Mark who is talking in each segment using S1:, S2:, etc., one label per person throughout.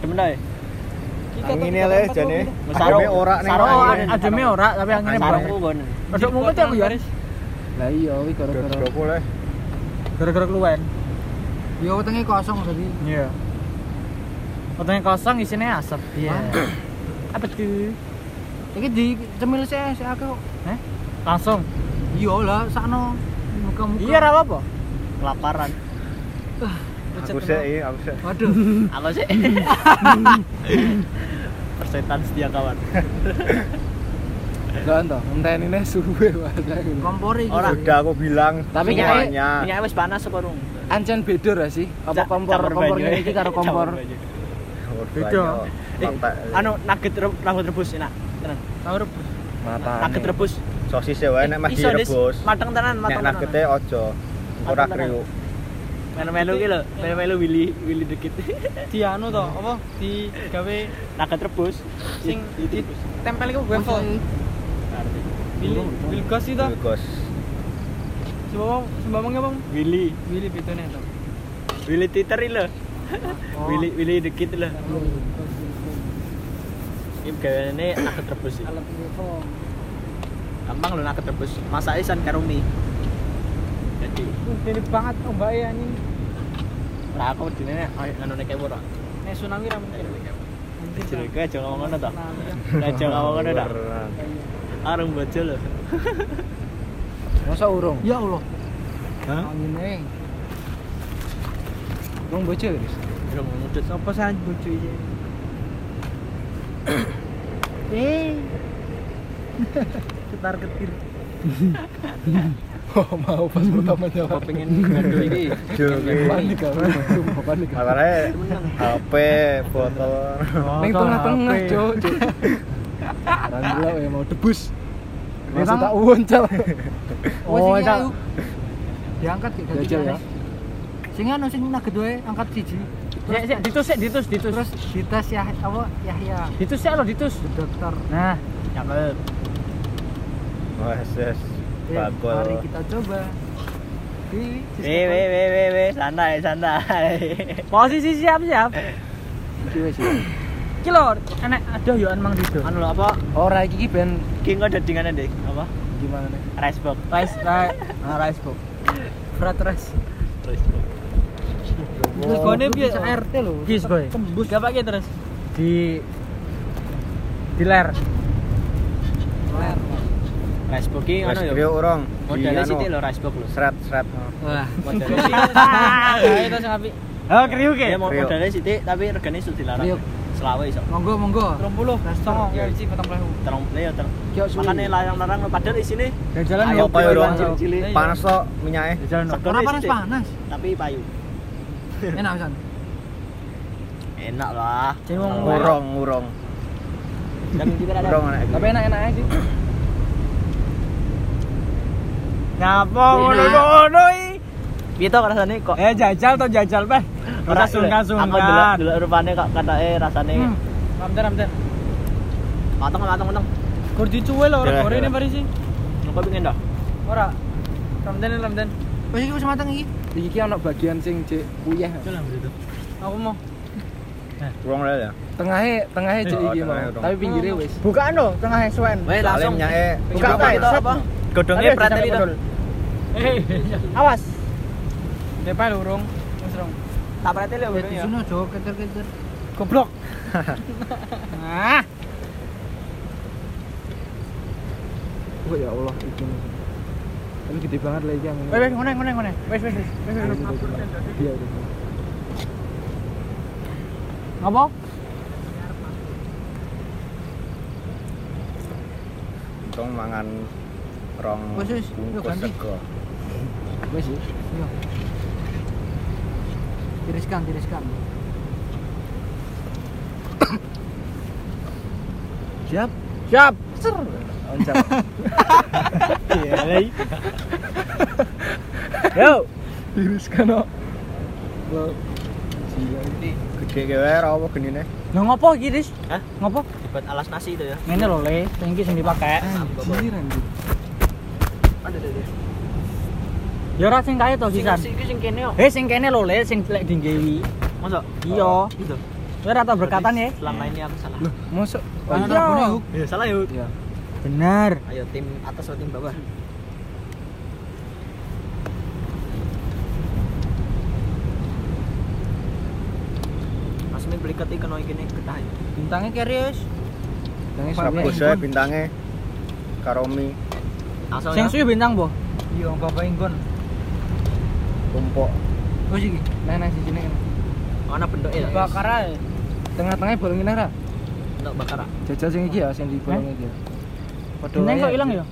S1: demen ae.
S2: Angine le jane.
S1: Saro-
S2: Ademe ora ning
S1: saro
S2: angin.
S1: ada-
S3: Ademe ora, tapi angine
S2: Angin.
S3: bareng.
S1: Sarungku nggon.
S3: Rodok mumet aku ya.
S4: Lah iya kuwi gara-gara
S2: Dodok le.
S3: Gara-gara keluwen.
S4: ya wetenge kosong tadi.
S3: Iya. Wetenge kosong isinya asap. Iya. Apa tuh?
S4: Iki dicemil sih sih aku.
S3: Heh? Langsung.
S4: Iya lah sakno muka-muka.
S3: Iya ora apa-apa.
S1: Kelaparan.
S2: Aku sik iki, aku sik.
S4: Waduh.
S1: Apa sih? Persetan setia kawan.
S4: Lah ento, entenine suwe wae. Kompor iki.
S1: Ora.
S2: Sudah aku bilang
S4: Tapi
S2: semuanya.
S1: Minyaknya minyaknya wis panas apa rung?
S4: Ancen beda ra sih? Apa
S1: Ca-
S4: kompor
S1: campur
S4: kompor
S1: banyu.
S4: ini iki karo kompor.
S1: Campur banyu.
S2: Oh,
S3: Beda.
S2: banyak.
S1: Eh,
S2: Mantek.
S1: anu nugget re- rambut rebus enak. Tenan.
S3: Tahu rebus.
S2: Matane.
S1: Nugget rebus.
S2: Sosise wae nek mah
S1: eh, Iso, Des.
S2: direbus.
S1: Mateng tenan,
S2: Nek
S1: mateng tenan.
S2: nugete aja. Ora
S1: Mateng tenan.
S2: kriuk.
S1: Melu-melu ki lho, melu-melu Willy Willy dikit.
S5: di anu to apa di gawe
S1: Nugget rebus.
S5: Sing
S1: itu
S5: tempel iku waffle Willy Willy Ghost itu
S2: Bagus.
S5: sembawang sembawang apa
S1: Willy
S5: Willy betone to
S1: Willy Twitter iki lho. Willy Willy dikit lho.
S5: Oh.
S1: Ini gaweane nugget rebus sih. Gampang lho nugget rebus. Masake san karo mie. Jadi,
S5: mirip banget ombak ya anjing
S1: ora aku dinene anone kae ora.
S5: nek tsunami ra mungkin
S3: Iya.
S1: Jadi kowe aja ngomong ngono to.
S3: Nah,
S5: Tsunami ya.
S1: Aja ngomong ngono ta.
S2: Beneran.
S1: Arung bojo lho.
S4: Masa urung?
S3: Ya Allah.
S4: Angine. Urung bojo wis.
S1: Arung mudut
S5: apa sih anjing bojo iki
S1: Eh,
S5: ketar ketir
S4: Oh, mau pas pertama
S1: apa
S4: jawab.
S1: pengen ngadu iki?
S2: Jogi.
S4: Panik aku. Sumpah panik. aku.
S2: Masalahnya HP, botol.
S1: Oh.
S4: Ning tengah-tengah, Cuk. Ranggulau ya mau debus. Masa tak uwoncal.
S3: Oh, tak.
S4: iya, Diangkat gitu. Jajal ya. Sing anu sing nugget wae angkat siji.
S5: Ya,
S3: Sik, sik, ditus, sik, ditus, ditus.
S4: Terus dites ya apa Yahya
S3: Ditus sik lho, ditus.
S4: dokter.
S3: Nah,
S1: Cakep.
S2: Wes, wes.
S4: Eh,
S2: Bakul.
S4: Mari kita coba. Di
S1: Weh, weh,
S4: eh,
S1: weh, weh, weh, santai, santai.
S3: posisi siap-siap.
S4: Eh. Iki wis.
S3: Iki lho, enek aduh yo Mang Dido.
S1: Anu lho apa?
S4: Ora eh. Oh, iki ki ben
S1: Ki engko dedingane Dik, apa?
S4: gimana nih?
S1: Rice box.
S3: Rice, rice, ah, rice kok. Berat rice.
S1: Rice box.
S5: terus gone piye
S4: Bisa RT lho.
S3: Gis, boy.
S5: tembus gak pakai terus
S3: Di di ler.
S4: Ler.
S1: Rice box ki
S2: Wes
S1: anu yo.
S2: kriuk urung.
S1: Modele
S2: Di
S1: sithik
S2: anu,
S1: lho Oh, rice box lho.
S2: Seret-seret.
S4: Wah,
S1: Modele
S5: ayo terus ngapi
S3: Ah. Oh, kriuk
S1: Ya
S3: ya.
S1: mau
S2: Kriuk.
S1: modele sithik tapi regane sudah dilarang.
S4: Kriuk.
S1: Selawe iso.
S4: monggo monggo.
S3: Nah,
S5: 30 songo ya siji patang puluh
S1: Terong play yo terong.
S4: Kiok suwi.
S1: Makane iya, larang-larang lho padahal isine
S3: Jalan
S2: Ayo,
S3: yo.
S2: payo dong.
S1: cilik-cilik. Eh,
S5: Iya.
S2: Panas kok e. minyaknya.
S3: Jalan no.
S1: Segone
S4: Ora panas
S1: sithik,
S4: panas.
S1: Tapi payu.
S4: Enak pisan.
S1: Enak lah.
S3: Jadi mau ngurung.
S2: Ngurung, ngurung.
S1: Dan kita ada.
S2: Ngurung anak
S4: Tapi enak-enak aja sih.
S3: Nyapa ngono-ngono iki?
S1: Kita rasane kok
S3: Eh jajal to jajal peh. Ora
S1: Ora, Aku delok
S3: sungkan-sungkan.
S1: delok rupane kok eh, katake rasane
S4: Hmm.
S5: ramdan ramdan
S1: mateng mateng mateng.
S5: kur dicuwe lho
S2: Jalan,
S5: ora gore ini
S2: jalan.
S5: mari sih
S1: Kok pengen dah?
S5: ora ramdan ramdan
S3: Oh,
S4: Wis
S3: iya,
S4: iki wis mateng iki. Iki ki ana bagian sing jek puyeh.
S5: aku mau
S2: Urung lah ya.
S4: Tengahe, tengahe jek
S2: Oh,
S4: iki
S2: tengahnya
S4: mau.
S2: dong.
S4: Tapi pinggire wis.
S3: Oh, Bukaan lho, tengah suwen.
S1: Weh
S2: Soalnya
S1: Eh, langsung.
S2: minyaknya.
S1: Buka
S3: Buka,
S1: kita
S3: set.
S1: apa?
S3: Godhongnya
S1: Godongnya prateli to.
S3: Awas.
S5: depan lho urung wis urung
S1: Tak ya, prateli lho
S4: Eh, Di
S1: godongnya.
S4: sono aja keter-keter.
S5: goblok
S3: Nah,
S4: Oh ya Allah, iki. Tapi gede banget lah iya, iki yang ini.
S3: wes wes ngene ngene ngene. Wes wes wes. Wes, wes.
S4: Iya, udah.
S3: Ngapa?
S2: Untung mangan rong
S4: Wes, wes. Yuk,
S2: bungkus
S4: ganti.
S2: sego.
S4: Wes ya. Iya. Tiriskan, tiriskan. Siap.
S3: Siap.
S2: Oncap.
S1: Iya,
S3: Yo.
S4: Tiriskan, no.
S2: Gede kewe ra apa genine?
S3: Lah ngopo iki, Dis?
S1: Hah?
S3: Ngopo?
S1: Buat alas nasi itu ya.
S3: Ngene lho, Le. Thank you sing dipakai.
S4: Anjir, anjir.
S1: Aduh, aduh, aduh.
S3: Ya ora sing kae to
S1: Sing
S3: sisan.
S1: nasi iki sing kene Oh. kok.
S3: Eh sing kene lho, Le, sing lek dinggewi.
S1: Masa?
S3: Iya.
S1: Gitu.
S3: Ora tau berkatan ya.
S1: Selama ini aku salah.
S6: Masuk.
S3: Oh, iya.
S1: Ya, salah yuk.
S6: Iya.
S3: Benar.
S1: Ayo tim atas atau tim bawah? Asmi beli ketik kena iki nih ketah.
S3: Bintangnya Kerius.
S6: Yang
S2: Rabu
S6: suwe.
S2: saya bintangnya Karomi
S1: Asal
S3: Sing suwi bintang, Bu.
S6: Iya, bapak ingkon.
S2: Tumpok
S6: Oh sih, nah nah sini kan.
S1: Mana bentuknya ya?
S3: Bakara.
S6: eh. Tengah-tengahnya bolongin aja.
S1: Bentuk bakar. ah?
S6: Jajal sing iki ya, sing dibolongin iki. Padha
S3: Bintang
S6: wae.
S3: kok ilang ya?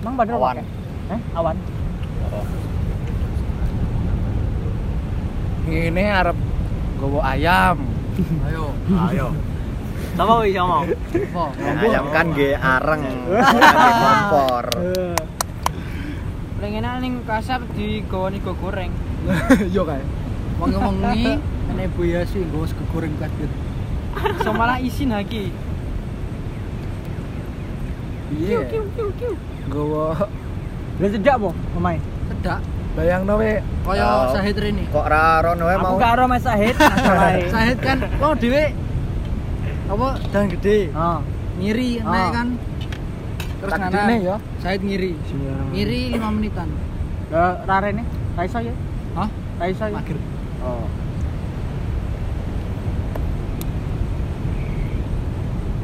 S3: Emang padahal
S2: Awan.
S3: pakai? Hah? Awan.
S6: Ngene arep gowo ayam.
S1: Ayo. Sama wis sama.
S6: Apa?
S2: ayam kan ge areng Ora ge kompor
S5: Paling enak ning kasap di gawani go goreng.
S6: Yo kae. Wengi-wengi ana Bu Yasi nggowo sego goreng kaget.
S5: So malah isin lagi.
S6: Iya. Nggowo
S3: Lah cedak, Bu, omahe.
S4: Sedak,
S6: bayangno we
S4: kaya
S2: Oh.
S4: Sahid Rini.
S2: kok raron wae mau
S3: Aku karo Mas Sahid, masalahnya.
S4: Sahid kan lo dhewe apa dan gede.
S3: Oh.
S4: Ngiri
S3: Ah.
S4: naik kan. Terus
S6: takdirne
S4: nganan.
S6: ya.
S4: Sahid ngiri. Ngiri 5 menitan.
S3: Lah rarene, ra iso ya?
S4: Hah?
S3: Ra iso ya?
S4: Mager.
S3: Oh.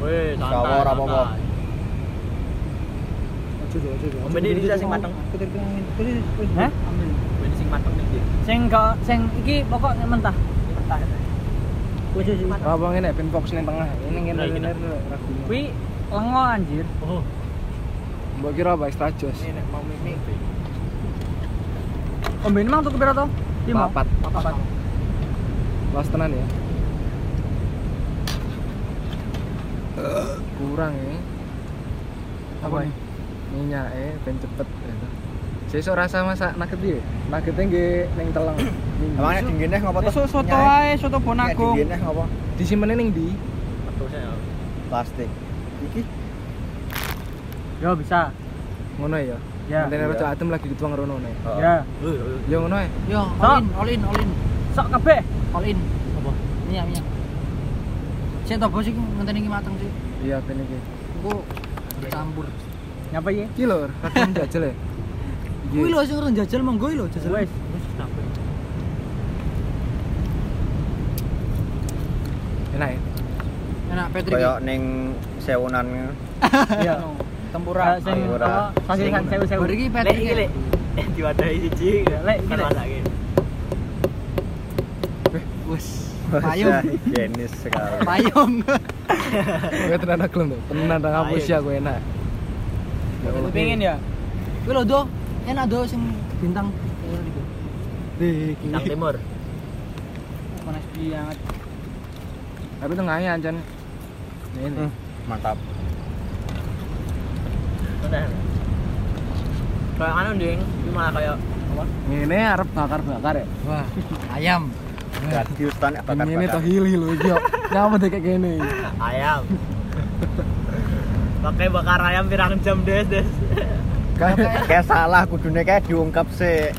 S1: Weh, santai.
S2: Sawo, ora apa-apa.
S1: santai. Ombe ini bisa sing mateng.
S3: Hah?
S1: Ombe ini sing mateng nih. Dik.
S3: Sing kok sing iki pokok mentah.
S1: Ini Mentah.
S3: Wis wis. wis.
S6: Apa ngene ben fokus ning tengah. Ini ngene
S1: Nah, iki
S6: ngene
S1: nah.
S6: ragu.
S3: Kuwi lengo anjir.
S1: Oh,
S6: Mbok kira apa extra jos?
S1: ini nek mau mimpi.
S3: Ombe ini mang tuku pira to? Lima.
S6: Papat.
S3: Papat.
S6: Pas tenan ya. Kurang ya. Apa
S3: Apa?
S6: nih? Minyak
S4: ya,
S6: eh ben cepet. gitu. Sesuk rasa masak nugget ya. Nuggete nggih ning teleng.
S2: emangnya dinggine ngopo tuh
S5: Besok soto ae,
S2: Nyai.
S5: soto
S2: Nek
S5: bonagung.
S2: dinggine ngopo
S6: disimene ning ndi?
S1: Terusnya ya.
S2: plastik iki
S3: Yo bisa.
S6: Ngono ya.
S3: Ya.
S6: Mantene
S2: Iya.
S6: rada adem lagi dituang rono ne.
S2: Oh.
S3: Ya.
S1: Weh, weh.
S6: Ya ngono ae.
S4: Yo,
S3: Stop.
S4: all in, all in, all in,
S3: Sok kabeh.
S4: all in.
S1: Apa?
S4: Minyak, minyak. Sik tobo sih ngenteni iki mateng sih.
S6: Iya ben iki.
S4: Engko dicampur.
S3: Nyapa ya?
S6: Iki lho, kadang jajal ya. Iki.
S4: Kuwi lho sing urung jajal monggo iki lho jajal.
S3: Wis.
S1: Wis sampai.
S6: Enak ya.
S4: Enak Patrick.
S2: koyo ning sewunan
S3: Iya.
S6: Anu, Tempura.
S3: Ora sing
S2: Tempura.
S3: apa? Saking kan sewu-sewu.
S4: Bar iki
S1: Lek
S4: Patrick.
S1: iki lek diwadahi siji.
S3: Lek, iki,
S1: kan
S3: lek.
S1: masak iki.
S4: Wes. Payung.
S2: jenis sekali
S4: Payung.
S6: Kowe tenan aku lho. Tenan nang ngapus ya kowe enak. Ya Allah.
S3: Pengen ya?
S4: Kuwi lho do. Enak do sing bintang. Deh,
S6: Nah.
S1: Nang timur.
S4: panas banget.
S6: Tapi tengahnya ancan. Ini.
S2: Hmm, mantap
S1: Tenan. Kayak anu ding, iki malah kayak
S6: Ini arep bakar-bakar ya. Wah,
S4: Ayam.
S2: jadi ustan bakar
S6: ini
S2: bakar
S6: tohili lho iki. yo. Nyapa deh kayak gini.
S1: ayam. Pakai bakar ayam pirang jam des des.
S6: Kayak
S2: kayak salah kudune kayak diungkep sih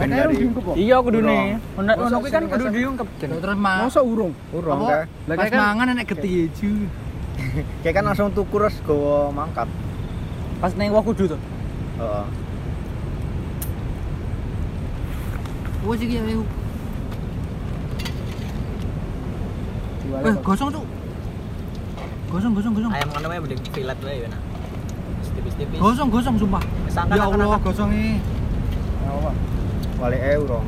S2: Ben
S6: Kayak
S2: dari-
S6: diungkep kok.
S3: Iya kudune.
S2: Urung.
S3: Ono ono
S6: Masa
S3: kuwi kan
S6: sering
S3: kudu
S6: masak?
S3: diungkep.
S4: Terus mah.
S6: Masa urung?
S2: urung
S4: Apa?
S2: kayak
S6: Lah
S4: Pas
S6: kayak kan
S4: mangan enak keteju.
S2: kayak kan langsung tuku terus gowo mangkat
S3: Pas neng wah kudu to.
S2: heeh
S4: Wes iki ya. yuk.
S6: Jualnya
S4: Eh,
S6: kok.
S4: gosong tuh. Gosong, gosong, gosong.
S1: Ayam kan namanya bedek filet wae ya nak. Tipis-tipis.
S4: Gosong, gosong sumpah.
S1: Kesangkan
S4: Ya Allah,
S1: akan-akan.
S4: gosong iki.
S6: Apa?
S2: wali e urung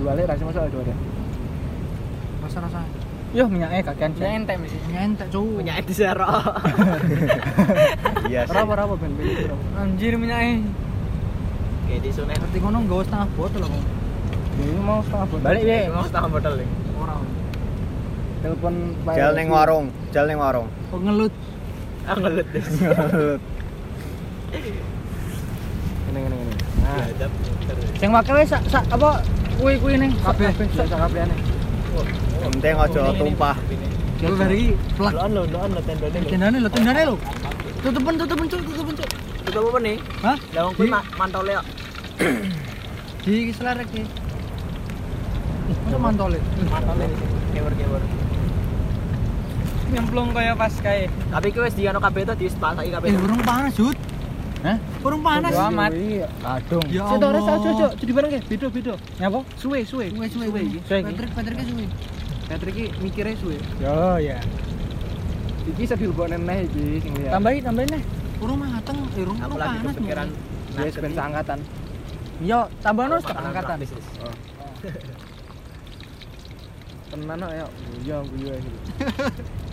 S6: Jualnya rasanya masa ada ada.
S4: Rasa-rasa.
S3: Yo minyaknya kakean.
S5: Ya
S3: Cek.
S5: entek mesti.
S4: Nyentek, cuk.
S1: punya di Zero.
S2: iya sih
S6: Berapa berapa ben ben iki berapa?
S5: Anjir minyaknya.
S1: Kayak di sungai.
S4: Ngerti ngono nggawa setengah botol kok.
S6: Ya, Ini mau setengah botol.
S2: balik ya
S1: Mau setengah botol ding.
S4: Ora.
S6: Telepon Pak
S2: jalan
S6: Yosi.
S2: neng warung jalan neng warung
S4: Kok ngelut.
S1: Ah ngelut des.
S6: Ini ini ini. Nah,
S1: Diadap terus.
S3: Sing wakil wis sak sak apa kuwi-kuwi ning sak
S4: Kabeh.
S3: kabeh sak sak kabeh aneh. Oh,
S2: penting ojo tumpah
S4: Gue bari plak.
S1: Loan lo, loan lo tendone lo.
S4: Tendane lho, tendane lho. Tutupen, tutupen, cuk, tutupen, cuk.
S1: Itu apa nih?
S4: Hah?
S1: Lah wong kuwi ma- mantole
S4: ya?
S1: kok.
S4: Di iki selarek iki. Masa mantole.
S1: Mantole.
S4: Kewer-kewer.
S7: nyemplung kaya pas kae.
S4: Tapi kuwi wis diano kabeh to dispasaki kabeh. Eh, urung panas, Jut.
S6: Iya. Hah?
S4: Urung panas.
S6: Bodo amat.
S3: Iya.
S6: Kadung.
S4: Ya
S3: Sik ora
S4: Allah.
S3: cocok, cocok. Jadi bareng beda-beda.
S6: Nyapa?
S3: Suwe, suwe.
S4: Suwe suwe suwe.
S6: Suwe iki.
S4: Patrick Patrick ki suwe. Patrick ki mikire suwe.
S3: Yo ya. Iki sedih lebokne neh iki sing lihat.
S6: Tambahin, tambahin nih.
S4: Urung mateng, eh, urung urung
S1: Apalagi
S4: panas.
S1: kepikiran
S3: Ya wis ben angkatan.
S6: Yo, tambahin harus
S1: makanan
S6: angkatan.
S1: praktis, Lis.
S3: Tenan kok ya. Iya, iya.